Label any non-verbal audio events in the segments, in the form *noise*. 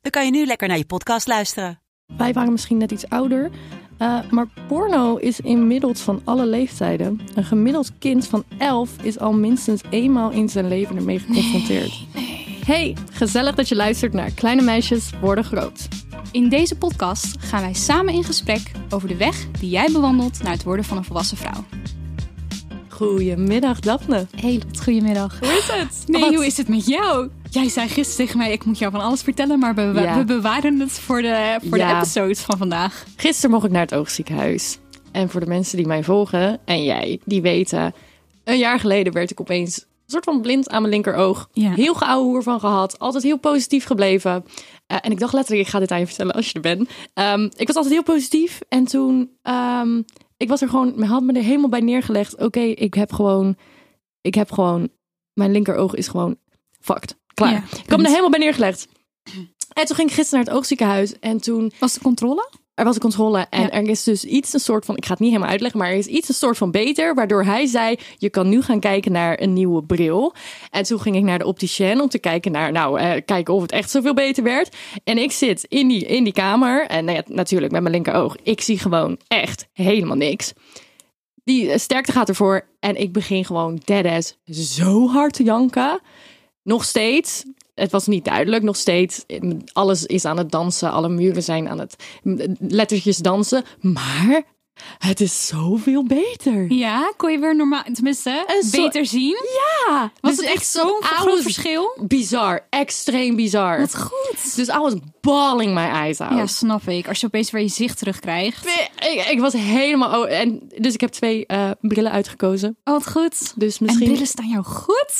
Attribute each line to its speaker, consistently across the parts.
Speaker 1: dan kan je nu lekker naar je podcast luisteren.
Speaker 2: Wij waren misschien net iets ouder. eh, maar porno is inmiddels van alle leeftijden. Een gemiddeld kind van 11 is al minstens eenmaal in zijn leven ermee geconfronteerd. Hey, gezellig dat je luistert naar Kleine Meisjes Worden Groot.
Speaker 3: In deze podcast gaan wij samen in gesprek over de weg die jij bewandelt naar het worden van een volwassen vrouw.
Speaker 2: Goedemiddag, Daphne.
Speaker 3: Hey Lot, goedemiddag. Hoe is het? Nee,
Speaker 2: Wat?
Speaker 3: hoe is het met jou? Jij zei gisteren tegen mij, ik moet jou van alles vertellen, maar we, we-
Speaker 2: Ja.
Speaker 3: we bewaren het voor de, voor de
Speaker 2: Ja.
Speaker 3: episodes van vandaag.
Speaker 2: Gisteren mocht ik naar het oogziekenhuis. En voor de mensen die mij volgen, en jij, die weten... Een jaar geleden werd ik opeens een soort van blind aan mijn linkeroog.
Speaker 3: Ja.
Speaker 2: Heel geouwe hoer van gehad. Altijd heel positief gebleven. Eh, en ik dacht letterlijk, ik ga dit aan je vertellen als je er bent. Ehm, ik was altijd heel positief. En toen, ehm, ik was er gewoon, had me er helemaal bij neergelegd. Oké, ik heb gewoon, ik heb gewoon, mijn linkeroog is gewoon fucked. Klaar.
Speaker 3: Ja,
Speaker 2: ik had me
Speaker 3: punt.
Speaker 2: er helemaal bij neergelegd. En toen ging ik gisteren naar het oogziekenhuis. En toen
Speaker 3: Was de controle?
Speaker 2: er was een controle en
Speaker 3: Ja.
Speaker 2: er is dus iets een soort van, ik ga het niet helemaal uitleggen, maar er is iets een soort van beter, waardoor hij zei, je kan nu gaan kijken naar een nieuwe bril. En toen ging ik naar de opticien om te kijken naar, nou, eh, kijken of het echt zoveel beter werd. En ik zit in die, in die kamer en nou ja, natuurlijk met mijn linkeroog, ik zie gewoon echt helemaal niks. Die eh, sterkte gaat ervoor en ik begin gewoon deadass zo hard te janken. Nog steeds. Het was niet duidelijk, nog steeds. eh, Alles is aan het dansen, alle muren zijn aan het eh, lettertjes dansen. Maar het is zoveel beter.
Speaker 3: Ja, kon je weer normaal, tenminste,
Speaker 2: Een soort-
Speaker 3: beter zien?
Speaker 2: Ja,
Speaker 3: Was het echt zo'n groot verschil?
Speaker 2: Bizar, extreem bizar.
Speaker 3: Wat goed.
Speaker 2: Dus I was balling my eyes out.
Speaker 3: Ja, snap ik. Als je opeens weer je zicht terugkrijgt. Oh,
Speaker 2: Ik, ik was helemaal... oh, en, dus ik heb twee eh, brillen uitgekozen.
Speaker 3: wat goed.
Speaker 2: Dus
Speaker 3: En
Speaker 2: misschien...
Speaker 3: brillen staan jou goed?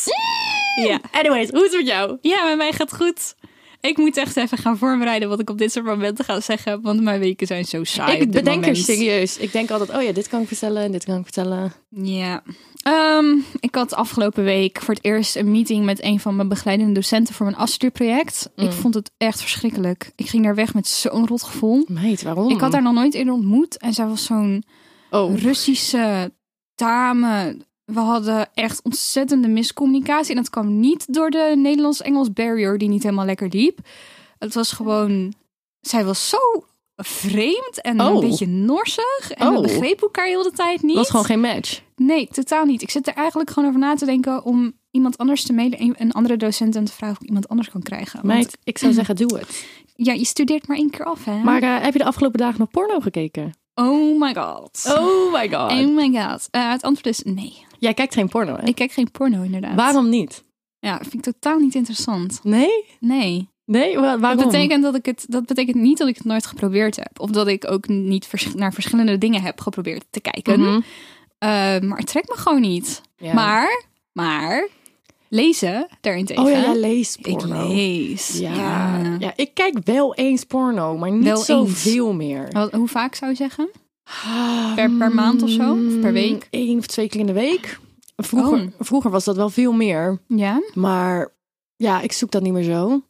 Speaker 2: Ja. Anyways, hoe is het met jou?
Speaker 3: Ja, met mij gaat goed. Ik moet echt even gaan voorbereiden wat ik op dit soort momenten ga zeggen. Want mijn weken zijn zo saai.
Speaker 2: ik
Speaker 3: op dit
Speaker 2: bedenk er
Speaker 3: moment.
Speaker 2: serieus. Ik denk altijd, oh ja, dit kan ik vertellen en dit kan ik vertellen.
Speaker 3: Ja. Ehm, ik had afgelopen week voor het eerst een meeting met een van mijn begeleidende docenten voor mijn afstudeerproject.
Speaker 2: Mm.
Speaker 3: Ik vond het echt verschrikkelijk. Ik ging daar weg met zo'n rot gevoel.
Speaker 2: Meid, waarom?
Speaker 3: Ik had haar nog nooit eerder ontmoet. En zij was zo'n
Speaker 2: Oh,
Speaker 3: Russische dame. We hadden echt ontzettende miscommunicatie. En dat kwam niet door de Nederlands-Engels barrier die niet helemaal lekker liep. Het was gewoon... Zij was zo vreemd en
Speaker 2: Oh.
Speaker 3: een beetje norsig. En
Speaker 2: Oh.
Speaker 3: we begrepen elkaar heel de tijd niet.
Speaker 2: was gewoon geen match.
Speaker 3: Nee, totaal niet. Ik zit er eigenlijk gewoon over na te denken om iemand anders te mailen. een- Een andere docent en te vragen of ik iemand anders kan krijgen. Want,
Speaker 2: Meid, ik
Speaker 3: *clears throat*
Speaker 2: zou zeggen, doe het.
Speaker 3: ja, je studeert maar één keer af, hè?
Speaker 2: Maar eh, heb je de afgelopen dagen nog porno gekeken?
Speaker 3: oh my god.
Speaker 2: Oh *laughs* my god.
Speaker 3: Oh my god. Eh, het antwoord is nee.
Speaker 2: Jij kijkt geen porno, hè?
Speaker 3: Ik kijk geen porno, inderdaad.
Speaker 2: Waarom niet?
Speaker 3: Ja, vind ik totaal niet interessant.
Speaker 2: Nee?
Speaker 3: Nee.
Speaker 2: Nee? Wa- waarom?
Speaker 3: Dat betekent, dat, ik het, dat betekent niet dat ik het nooit geprobeerd heb. Of dat ik ook niet vers- naar verschillende dingen heb geprobeerd te kijken.
Speaker 2: Mhm.
Speaker 3: Eh, maar het trekt me gewoon niet.
Speaker 2: Ja.
Speaker 3: Maar, maar, lezen daarentegen.
Speaker 2: Oh ja, jij leest
Speaker 3: Ik
Speaker 2: porno.
Speaker 3: lees.
Speaker 2: Ja. Ja. ik kijk wel eens porno, maar niet
Speaker 3: Wel
Speaker 2: zoveel meer.
Speaker 3: Wat- hoe vaak zou je zeggen? Oh. Per, per maand of zo? Of per week?
Speaker 2: Eén Hmm, of twee keer in de week. Vroeger,
Speaker 3: Oh.
Speaker 2: vroeger was dat wel veel meer.
Speaker 3: Ja.
Speaker 2: Maar ja, ik zoek dat niet meer zo.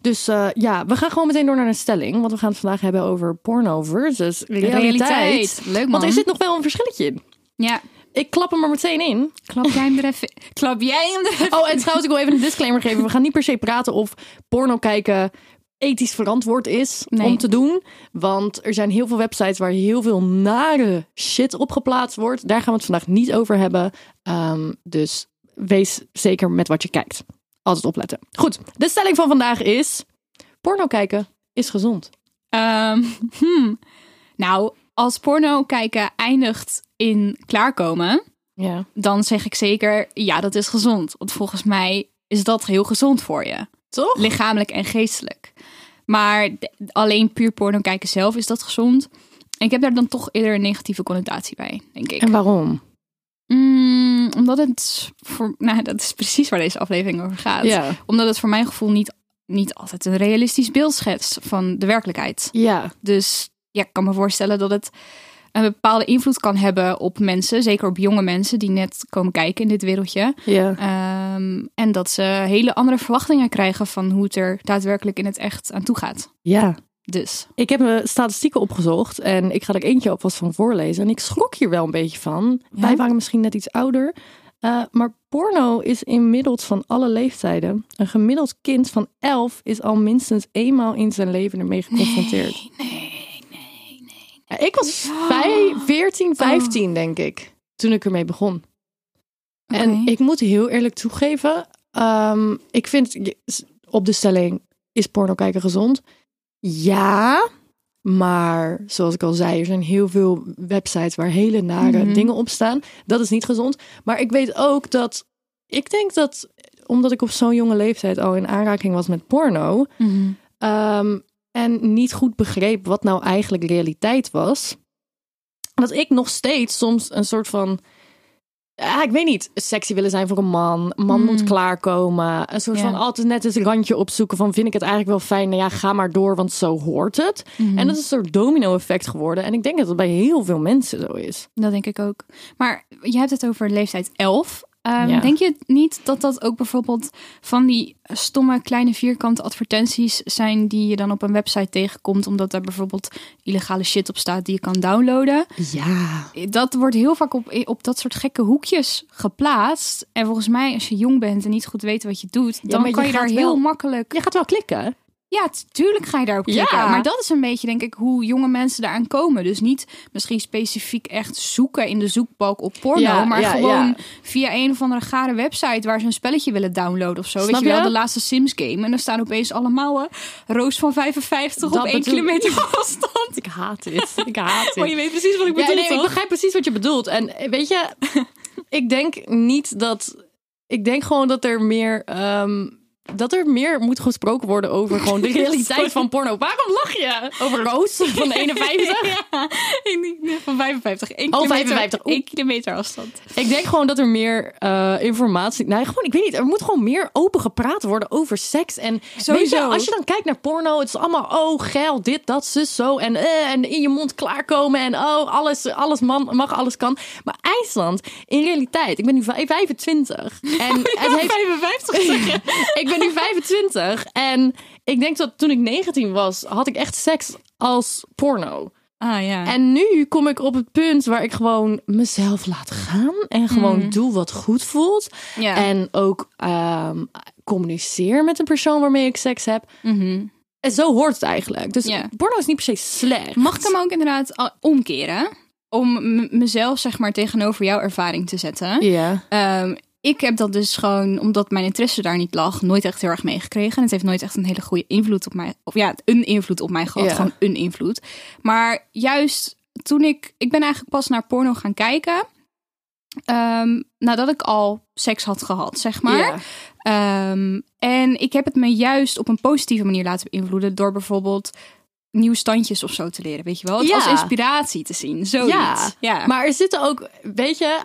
Speaker 2: Dus eh, ja, we gaan gewoon meteen door naar een stelling. Want we gaan het vandaag hebben over porno versus realiteit.
Speaker 3: Leuk man.
Speaker 2: Want er zit nog wel een verschilletje in.
Speaker 3: Ja.
Speaker 2: Ik klap hem er meteen in.
Speaker 3: Klap jij hem er
Speaker 2: *laughs*
Speaker 3: even... Klap jij hem er even...
Speaker 2: Oh, en trouwens, ik wil even een disclaimer geven. We gaan niet per se praten of porno kijken ethisch verantwoord is
Speaker 3: Nee.
Speaker 2: om te doen. Want er zijn heel veel websites waar heel veel nare shit op geplaatst wordt. Daar gaan we het vandaag niet over hebben. Ehm, dus wees zeker met wat je kijkt. Altijd opletten. Goed, de stelling van vandaag is... Porno kijken is gezond.
Speaker 3: Ehm, hmm. Nou, als porno kijken eindigt in klaarkomen,
Speaker 2: Ja.
Speaker 3: dan zeg ik zeker, ja, dat is gezond. Want volgens mij is dat heel gezond voor je.
Speaker 2: Toch?
Speaker 3: lichamelijk en geestelijk. Maar de- alleen puur porno kijken zelf is dat gezond. En ik heb daar dan toch eerder een negatieve connotatie bij, denk ik.
Speaker 2: En waarom?
Speaker 3: Mm, omdat het voor, nou, dat is precies waar deze aflevering over gaat.
Speaker 2: Ja.
Speaker 3: Omdat het voor mijn gevoel niet niet altijd een realistisch beeld schetst van de werkelijkheid.
Speaker 2: Ja,
Speaker 3: Dus ja, ik kan me voorstellen dat het een bepaalde invloed kan hebben op mensen, zeker op jonge mensen die net komen kijken in dit wereldje.
Speaker 2: ja.
Speaker 3: Ehm, en dat ze hele andere verwachtingen krijgen van hoe het er daadwerkelijk in het echt aan toe gaat.
Speaker 2: Ja.
Speaker 3: Dus
Speaker 2: Ik heb mijn statistieken opgezocht en ik ga er eentje alvast van voorlezen. En ik schrok hier wel een beetje van.
Speaker 3: Ja?
Speaker 2: Wij waren misschien net iets ouder. eh, maar porno is inmiddels van alle leeftijden. Een gemiddeld kind van 11 is al minstens eenmaal in zijn leven ermee geconfronteerd. Nee, nee, nee. Ik was vij- 14, 15 denk ik toen ik ermee begon. En
Speaker 3: oké.
Speaker 2: ik moet heel eerlijk toegeven, ehm, ik vind je- s- op de stelling is porno kijken gezond? Ja, maar zoals ik al zei, er zijn heel veel websites waar hele nare
Speaker 3: Mhm.
Speaker 2: dingen op staan. Dat is niet gezond. Maar ik weet ook dat ik denk dat omdat ik op zo'n jonge leeftijd al in aanraking was met porno
Speaker 3: Mhm.
Speaker 2: ehm, en niet goed begreep wat nou eigenlijk realiteit was, dat ik nog steeds soms een soort van. Ah, ik weet niet, sexy willen zijn voor een man. Een Man
Speaker 3: Mm.
Speaker 2: moet klaarkomen. Een soort
Speaker 3: Ja.
Speaker 2: van altijd net eens een randje opzoeken van vind ik het eigenlijk wel fijn. Nou ja, ga maar door, want zo hoort het.
Speaker 3: Mhm.
Speaker 2: En dat is een soort domino effect geworden. En ik denk dat dat bij heel veel mensen zo is.
Speaker 3: Dat denk ik ook. Maar je hebt het over leeftijd 11. Ehm,
Speaker 2: Ja.
Speaker 3: Denk je niet dat dat ook bijvoorbeeld van die stomme kleine vierkante advertenties zijn die je dan op een website tegenkomt, omdat daar bijvoorbeeld illegale shit op staat die je kan downloaden?
Speaker 2: Ja.
Speaker 3: Dat wordt heel vaak op, op dat soort gekke hoekjes geplaatst. En volgens mij, als je jong bent en niet goed weet wat je doet, dan
Speaker 2: maar je
Speaker 3: kan je, daar
Speaker 2: gaat
Speaker 3: heel
Speaker 2: wel-
Speaker 3: makkelijk.
Speaker 2: Je gaat wel klikken.
Speaker 3: Ja, tu- tuurlijk ga je daarop
Speaker 2: Ja.
Speaker 3: klikken. Maar dat is een beetje, denk ik, hoe jonge mensen daaraan komen. Dus niet misschien specifiek echt zoeken in de zoekbalk op porno.
Speaker 2: Ja,
Speaker 3: maar
Speaker 2: ja,
Speaker 3: gewoon
Speaker 2: ja.
Speaker 3: via een of andere gare website waar ze een spelletje willen downloaden of zo.
Speaker 2: Snap
Speaker 3: Weet je wel,
Speaker 2: je?
Speaker 3: de laatste Sims game. En dan staan opeens allemaal eh, Roos van 55
Speaker 2: Dat
Speaker 3: op 1
Speaker 2: bedoel-
Speaker 3: kilometer *laughs* afstand.
Speaker 2: Ik haat dit. Ik *laughs* haat dit.
Speaker 3: Maar je weet precies wat ik
Speaker 2: Ja,
Speaker 3: bedoel,
Speaker 2: nee, ik
Speaker 3: toch?
Speaker 2: begrijp precies wat je bedoelt. En eh, weet
Speaker 3: *laughs*
Speaker 2: je, ik denk niet dat. Ik denk gewoon dat er meer. ehm, dat er meer moet gesproken worden over gewoon
Speaker 3: *laughs*
Speaker 2: de realiteit van porno. Waarom lach je? Over Roos van 51?
Speaker 3: Ja, ik denk, nee, van 55. 1
Speaker 2: Oh,
Speaker 3: kilometer,
Speaker 2: 55. Oeh.
Speaker 3: 1 kilometer afstand.
Speaker 2: Ik denk gewoon dat er meer eh, informatie. Nee, gewoon, ik weet niet. Er moet gewoon meer open gepraat worden over seks. En weet je,
Speaker 3: Sowieso.
Speaker 2: als je dan kijkt naar porno, het is allemaal oh geil, dit, dat, zus, zo. En, eh, en in je mond klaarkomen. En oh, alles, alles man, mag, alles kan. Maar IJsland, in realiteit, ik ben nu vij- 25.
Speaker 3: *laughs*
Speaker 2: En het heeft
Speaker 3: 55 zeg je.
Speaker 2: *laughs* ik ben nu 25 en ik denk dat toen ik 19 was, had ik echt seks als porno.
Speaker 3: Ah ja.
Speaker 2: En nu kom ik op het punt waar ik gewoon mezelf laat gaan en gewoon doe wat goed voelt.
Speaker 3: Hmm. Ja.
Speaker 2: En ook ehm, communiceer met een persoon waarmee ik seks heb.
Speaker 3: Mhm.
Speaker 2: En zo hoort het eigenlijk. Dus
Speaker 3: Ja.
Speaker 2: porno is niet per se slecht.
Speaker 3: Mag ik hem ook inderdaad al- omkeren? Om m- mezelf, zeg maar, tegenover jouw ervaring te zetten.
Speaker 2: Ja.
Speaker 3: Ehm, ik heb dat dus gewoon, omdat mijn interesse daar niet lag, nooit echt heel erg meegekregen. En het heeft nooit echt een hele goede invloed op mij. Of ja, een invloed op mij gehad.
Speaker 2: Ja.
Speaker 3: Gewoon een invloed. Maar juist toen ik. Ik ben eigenlijk pas naar porno gaan kijken. ehm, nadat ik al seks had gehad, zeg maar.
Speaker 2: Ja.
Speaker 3: Ehm, en ik heb het me juist op een positieve manier laten beïnvloeden door bijvoorbeeld nieuwe standjes of zo te leren, weet je wel? Het
Speaker 2: Ja.
Speaker 3: als inspiratie te zien, zoiets. Ja,
Speaker 2: Ja. Maar er zitten ook, weet je,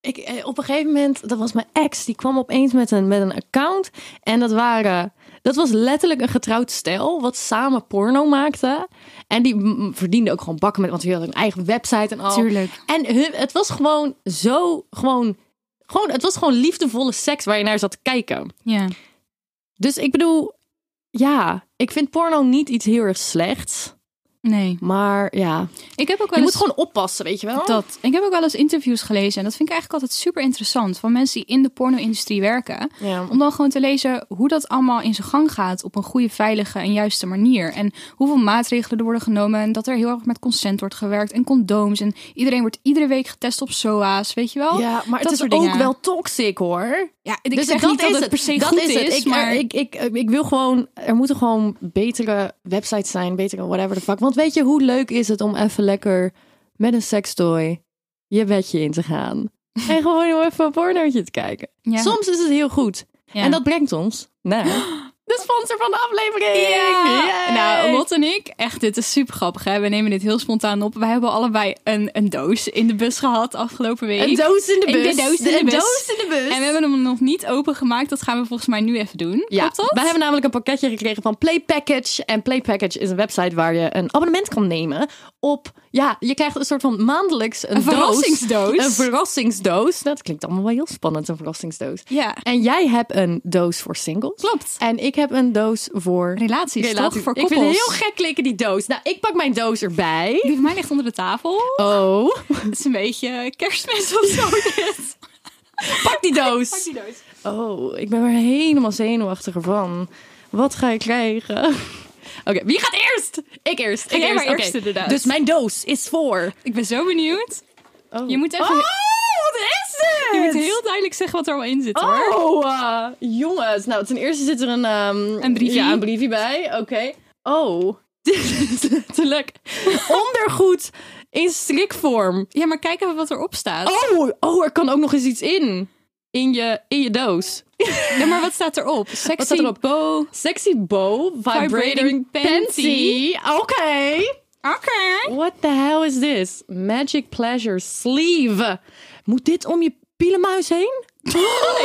Speaker 2: ik, eh, op een gegeven moment, dat was mijn ex, die kwam opeens met een, met een account. En dat waren, dat was letterlijk een getrouwd stel, wat samen porno maakte. En die mm, verdiende ook gewoon bakken met, want die hadden een eigen website en al.
Speaker 3: Tuurlijk.
Speaker 2: En hun- het was gewoon zo, gewoon, gewoon, het was gewoon liefdevolle seks waar je naar zat te kijken.
Speaker 3: ja.
Speaker 2: Dus ik bedoel, ja, ik vind porno niet iets heel erg slechts.
Speaker 3: Nee.
Speaker 2: Maar ja,
Speaker 3: Ik heb ook wel
Speaker 2: je
Speaker 3: eens...
Speaker 2: moet gewoon oppassen, weet je wel?
Speaker 3: Dat. Ik heb ook wel eens interviews gelezen en dat vind ik eigenlijk altijd super interessant van mensen die in de porno-industrie werken.
Speaker 2: Ja.
Speaker 3: Om dan gewoon te lezen hoe dat allemaal in zijn gang gaat op een goede, veilige en juiste manier. En hoeveel maatregelen er worden genomen en dat er heel erg met consent wordt gewerkt en condooms. En iedereen wordt iedere week getest op SOA's, weet je wel?
Speaker 2: Ja, maar het
Speaker 3: Oh, Dat
Speaker 2: is ook
Speaker 3: soort dingen.
Speaker 2: wel toxic hoor.
Speaker 3: Ja, ik
Speaker 2: dus
Speaker 3: zeg niet dat het eh, per se
Speaker 2: dat
Speaker 3: goed
Speaker 2: is,
Speaker 3: is,
Speaker 2: het. Ik,
Speaker 3: maar
Speaker 2: ik, ik, eh, ik wil gewoon, er moeten gewoon betere websites zijn, betere whatever the fuck. Want weet je, hoe leuk is het om even lekker met een sextoy je bedje in te
Speaker 3: *laughs*
Speaker 2: gaan? en gewoon even een pornootje te kijken.
Speaker 3: Ja.
Speaker 2: Soms is het heel goed.
Speaker 3: Ja. *gasps*
Speaker 2: En dat brengt ons naar de sponsor van de aflevering.
Speaker 3: Ja.
Speaker 2: Yay!
Speaker 3: Nou, Maar Lot en ik, echt, dit is super grappig. Hè? We nemen dit heel spontaan op. Wij hebben allebei een, een doos in de bus gehad afgelopen week.
Speaker 2: Een doos in de
Speaker 3: Een
Speaker 2: bus.
Speaker 3: doos in de
Speaker 2: Een
Speaker 3: bus.
Speaker 2: doos in de bus.
Speaker 3: En we hebben hem nog niet opengemaakt. Dat gaan we volgens mij nu even doen.
Speaker 2: Ja,
Speaker 3: Klopt dat?
Speaker 2: wij hebben namelijk een pakketje gekregen van Play Package. En Play Package is een website waar je een abonnement kan nemen op... Ja, je krijgt een soort van maandelijks een,
Speaker 3: Een
Speaker 2: doos.
Speaker 3: verrassingsdoos.
Speaker 2: Een verrassingsdoos. Nou, Dat klinkt allemaal wel heel spannend, een verrassingsdoos.
Speaker 3: Ja.
Speaker 2: En jij hebt een doos voor singles.
Speaker 3: Klopt.
Speaker 2: En ik heb een doos voor...
Speaker 3: Relaties, toch? Voor
Speaker 2: ik vind het
Speaker 3: koppels.
Speaker 2: heel gek klinken, die doos. Nou, ik pak mijn doos erbij.
Speaker 3: Die van mij ligt onder de tafel.
Speaker 2: Oh,
Speaker 3: Het is een beetje kerstmis of
Speaker 2: *laughs*
Speaker 3: zo. dit.
Speaker 2: pak die doos.
Speaker 3: Pak die doos.
Speaker 2: Oh, ik ben er helemaal zenuwachtig van. Wat ga ik krijgen? *laughs* Oké, wie gaat eerst? Ik eerst. Ik
Speaker 3: jij maar
Speaker 2: Oké.
Speaker 3: eerst, inderdaad.
Speaker 2: Dus mijn doos is voor.
Speaker 3: Ik ben zo benieuwd.
Speaker 2: Oh.
Speaker 3: Je moet even-
Speaker 2: Oh, wat is dit?
Speaker 3: Je moet heel duidelijk zeggen wat er allemaal in zit, hoor.
Speaker 2: Oh, eh, jongens. Nou, ten eerste zit er een... ehm,
Speaker 3: Een briefie.
Speaker 2: Ja, een briefie bij. Oké. Oh, *laughs* dit is letterlijk ondergoed in strikvorm.
Speaker 3: Ja, maar kijk even wat erop staat.
Speaker 2: Oh, oh, er kan ook nog eens iets in. In je, in je doos.
Speaker 3: Ja, maar wat staat erop? Sexy
Speaker 2: staat erop?
Speaker 3: bo.
Speaker 2: Sexy bow vibrating,
Speaker 3: Vibrating
Speaker 2: panty. Oké.
Speaker 3: Oké.
Speaker 2: What the hell is this? Magic pleasure sleeve. Moet dit om je pielenmuis heen?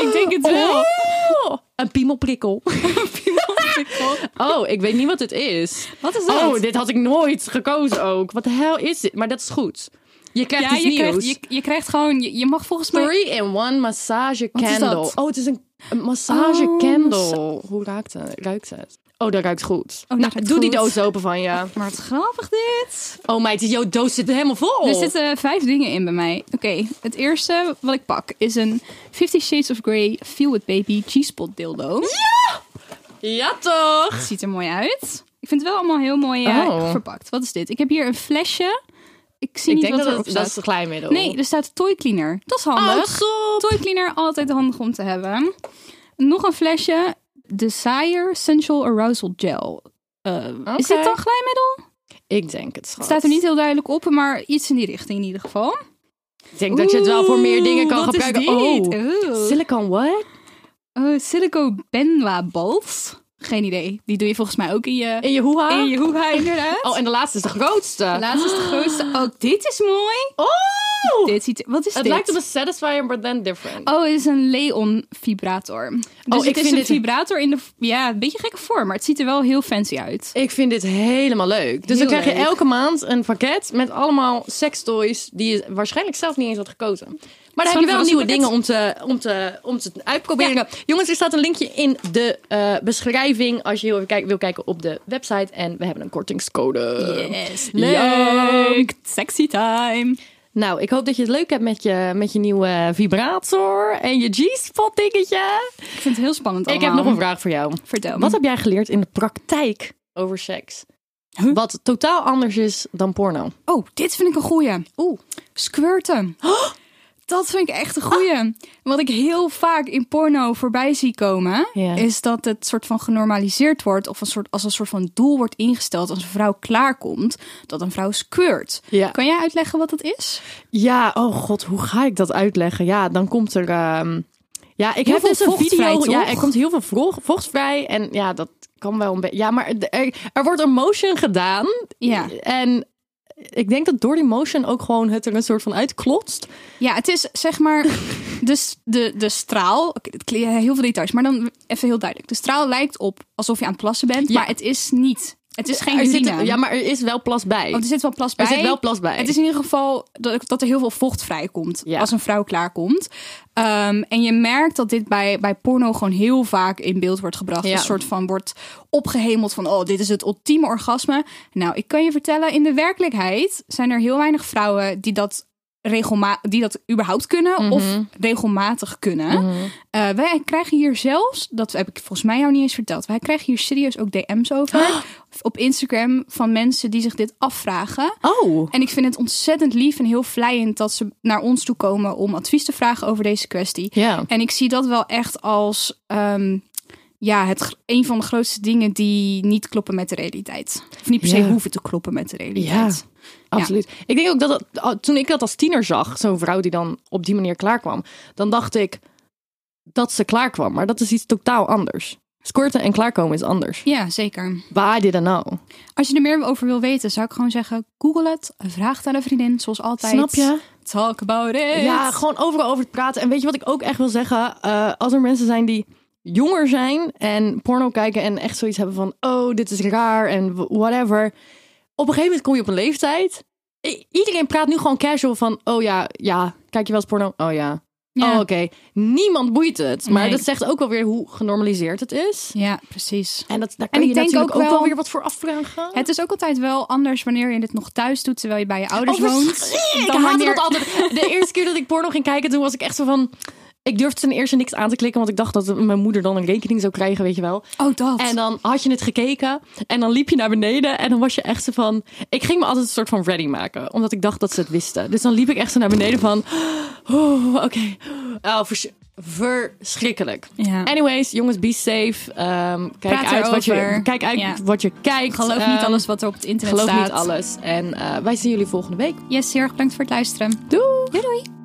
Speaker 3: Ik denk het wel. *laughs*
Speaker 2: Oh, een piemelprikkel. Oh, ik weet niet wat het is.
Speaker 3: Wat is dat?
Speaker 2: Oh, dit had ik nooit gekozen ook. Wat de hel is dit? Maar dat is goed. Je krijgt
Speaker 3: ja,
Speaker 2: iets
Speaker 3: je
Speaker 2: nieuws.
Speaker 3: krijgt, je, je krijgt gewoon... Je, je mag volgens mij...
Speaker 2: Three in one massage
Speaker 3: Wat is
Speaker 2: candle.
Speaker 3: dat?
Speaker 2: Oh, het is een, een massage
Speaker 3: Oh,
Speaker 2: candle. Hoe ruikt het? ruikt het? Oh, dat ruikt goed.
Speaker 3: dat
Speaker 2: nou,
Speaker 3: ruikt
Speaker 2: doe die
Speaker 3: goed.
Speaker 2: doos open van je.
Speaker 3: Maar wat grappig dit.
Speaker 2: Oh meid, jouw doos zit helemaal vol.
Speaker 3: Er zitten vijf dingen in bij mij. Oké, het eerste wat ik pak is een Fifty Shades of Grey Feel It Baby G-spot dildo.
Speaker 2: Ja toch?
Speaker 3: Het ziet er mooi uit. Ik vind het wel allemaal heel mooi eh,
Speaker 2: Oh.
Speaker 3: verpakt. Wat is dit? Ik heb hier een flesje. Ik zie
Speaker 2: Ik
Speaker 3: niet
Speaker 2: denk
Speaker 3: wat
Speaker 2: dat
Speaker 3: erop
Speaker 2: het, Oh, dat
Speaker 3: staat.
Speaker 2: is een klein
Speaker 3: Nee, er staat toy cleaner. Dat is handig. Toy cleaner altijd handig om te hebben. Nog een flesje Desire Sensual Arousal Gel. Eh, Is dit dan glijmiddel?
Speaker 2: Ik denk het, schat.
Speaker 3: Het staat er niet heel duidelijk op, maar iets in die richting in ieder geval.
Speaker 2: Ik denk dat je het wel voor meer dingen kan
Speaker 3: Oeh, wat is
Speaker 2: gebruiken.
Speaker 3: dit?
Speaker 2: Oh,
Speaker 3: Oeh.
Speaker 2: silicon what?
Speaker 3: Oh, silico benwa balls. Geen idee. Die doe je volgens mij ook in je,
Speaker 2: In je hoeha?
Speaker 3: in je hoeha, inderdaad.
Speaker 2: Oh, en de laatste is de grootste.
Speaker 3: De laatste is de
Speaker 2: *gasps*
Speaker 3: grootste. Ook dit is mooi.
Speaker 2: Oh!
Speaker 3: Dit ziet, wat is
Speaker 2: het
Speaker 3: dit?
Speaker 2: lijkt op een satisfier, but then different.
Speaker 3: Oh, het is een Leon vibrator. Dus het
Speaker 2: Oh, ik
Speaker 3: is
Speaker 2: vind
Speaker 3: een
Speaker 2: dit-
Speaker 3: vibrator in de... Ja, een beetje gekke vorm, maar het ziet er wel heel fancy uit.
Speaker 2: Ik vind dit helemaal leuk. Dus dan
Speaker 3: Heel
Speaker 2: krijg je
Speaker 3: leuk.
Speaker 2: elke maand een pakket met allemaal sekstoys die je waarschijnlijk zelf niet eens had gekozen. Maar dan
Speaker 3: Het
Speaker 2: heb
Speaker 3: is
Speaker 2: je
Speaker 3: gewoon
Speaker 2: wel
Speaker 3: een
Speaker 2: nieuwe dingen om
Speaker 3: verrassing
Speaker 2: te, om te, om te uitproberen. Jongens, er staat een linkje in de eh, beschrijving als je heel even kijk- wil kijken op de website. En we hebben een kortingscode. Ja.
Speaker 3: Leuk. Sexy time.
Speaker 2: Nou, ik hoop dat je het leuk hebt met je, met je nieuwe vibrator en je G-spot dingetje.
Speaker 3: Ik vind het heel spannend
Speaker 2: Ik heb nog een vraag voor jou.
Speaker 3: Vertel me.
Speaker 2: Wat heb jij geleerd in de praktijk over seks? Wat totaal anders is dan porno.
Speaker 3: Oh, dit vind ik een goeie.
Speaker 2: Oeh.
Speaker 3: Squirten. Oh, Dat vind ik echt een goeie. Wat ik heel vaak in porno voorbij zie komen,
Speaker 2: Ja.
Speaker 3: is dat het soort van genormaliseerd wordt. Of een soort, als een soort van doel wordt ingesteld als een vrouw klaarkomt, dat een vrouw squirt.
Speaker 2: Ja.
Speaker 3: Kan jij uitleggen wat dat is?
Speaker 2: Ja, oh god, hoe ga ik dat uitleggen? Ja, dan komt er. ehm, Ja, ik
Speaker 3: Heel
Speaker 2: heb
Speaker 3: veel
Speaker 2: dus een
Speaker 3: vocht
Speaker 2: video.
Speaker 3: vrij, toch?
Speaker 2: ja, er komt heel veel vro- vocht vrij. En ja, dat kan wel een beetje. Ja, maar de- er, er wordt een motion gedaan.
Speaker 3: Ja.
Speaker 2: En ik denk dat door die motion ook gewoon het er een soort van uitklotst.
Speaker 3: Ja, het is zeg *laughs* maar de, de, de straal. Oké, dit klinkt- heel veel details, maar dan even heel duidelijk. De straal lijkt op alsof je aan het plassen bent, maar het is niet. Het is geen
Speaker 2: er
Speaker 3: urine.
Speaker 2: zit, ja, maar er is wel plas bij.
Speaker 3: Oh, er zit wel plas bij.
Speaker 2: Er zit wel plas bij.
Speaker 3: Het is in ieder geval dat, dat er heel veel vocht vrijkomt
Speaker 2: Ja.
Speaker 3: als een vrouw klaarkomt. Ehm, en je merkt dat dit bij, bij porno gewoon heel vaak in beeld wordt gebracht.
Speaker 2: Ja.
Speaker 3: Een soort van wordt opgehemeld van, oh, dit is het ultieme orgasme. Nou, ik kan je vertellen, in de werkelijkheid zijn er heel weinig vrouwen die dat regelma die dat überhaupt kunnen of regelmatig kunnen. Eh, wij krijgen hier zelfs, dat heb ik volgens mij jou niet eens verteld, wij krijgen hier serieus ook DM's over op Instagram van mensen die zich dit afvragen.
Speaker 2: Oh.
Speaker 3: En ik vind het ontzettend lief en heel vlijend dat ze naar ons toe komen om advies te vragen over deze kwestie.
Speaker 2: Ja.
Speaker 3: En ik zie dat wel echt als ehm, ja, het, gr- een van de grootste dingen die niet kloppen met de realiteit. Of niet per se
Speaker 2: Ja.
Speaker 3: hoeven te kloppen met de realiteit.
Speaker 2: Absoluut. Ik denk ook dat het- ah, toen ik dat als tiener zag, zo'n vrouw die dan op die manier klaarkwam, dan dacht ik dat ze klaarkwam. Maar dat is iets totaal anders. Squirten en klaarkomen is anders.
Speaker 3: Ja, zeker.
Speaker 2: Waar I didn't know.
Speaker 3: Als je er meer over wil weten, zou ik gewoon zeggen: Google het, vraag het aan een vriendin, zoals altijd.
Speaker 2: Snap je?
Speaker 3: Talk about it.
Speaker 2: Ja, gewoon overal over te praten. En weet je wat ik ook echt wil zeggen? Eh, als er mensen zijn die jonger zijn en porno kijken en echt zoiets hebben van... Oh, dit is raar en w- whatever. Op een gegeven moment kom je op een leeftijd. I- iedereen praat nu gewoon casual van... Oh ja, ja, kijk je wel eens porno? Oh ja.
Speaker 3: Ja.
Speaker 2: Oh, oké. Niemand boeit het. Maar
Speaker 3: Nee.
Speaker 2: dat zegt ook wel weer hoe genormaliseerd het is.
Speaker 3: ja, precies.
Speaker 2: En dat, daar kan
Speaker 3: ik
Speaker 2: je
Speaker 3: denk
Speaker 2: natuurlijk ook
Speaker 3: ook
Speaker 2: wel...
Speaker 3: wel-
Speaker 2: weer wat voor afvragen.
Speaker 3: Het is ook altijd wel anders wanneer je dit nog thuis doet, terwijl je bij je ouders
Speaker 2: Oh,
Speaker 3: woont.
Speaker 2: verschrikkelijk. Ik
Speaker 3: dan
Speaker 2: haatte
Speaker 3: wanneer-
Speaker 2: dat
Speaker 3: *laughs*
Speaker 2: altijd. De eerste keer dat ik porno ging kijken, toen was ik echt zo van... Ik durfde ten eerste niks aan te klikken, want ik dacht dat mijn moeder dan een rekening zou krijgen, weet je wel.
Speaker 3: Oh, dat.
Speaker 2: En dan had je het gekeken en dan liep je naar beneden en dan was je echt zo van... Ik ging me altijd een soort van ready maken, omdat ik dacht dat ze het wisten. Dus dan liep ik echt zo naar beneden van... "Oh, Oké, oh, vers- verschrikkelijk.
Speaker 3: Ja.
Speaker 2: Anyways, jongens, be safe. Ehm, kijk,
Speaker 3: Praat
Speaker 2: uit wat je,
Speaker 3: erover.
Speaker 2: kijk uit
Speaker 3: Ja.
Speaker 2: wat je kijkt.
Speaker 3: Geloof niet
Speaker 2: Ehm,
Speaker 3: alles wat er op het internet
Speaker 2: Geloof
Speaker 3: staat.
Speaker 2: niet alles. En eh, wij zien jullie volgende week.
Speaker 3: Yes, heel erg bedankt voor het luisteren.
Speaker 2: Doei!
Speaker 3: Doei doei.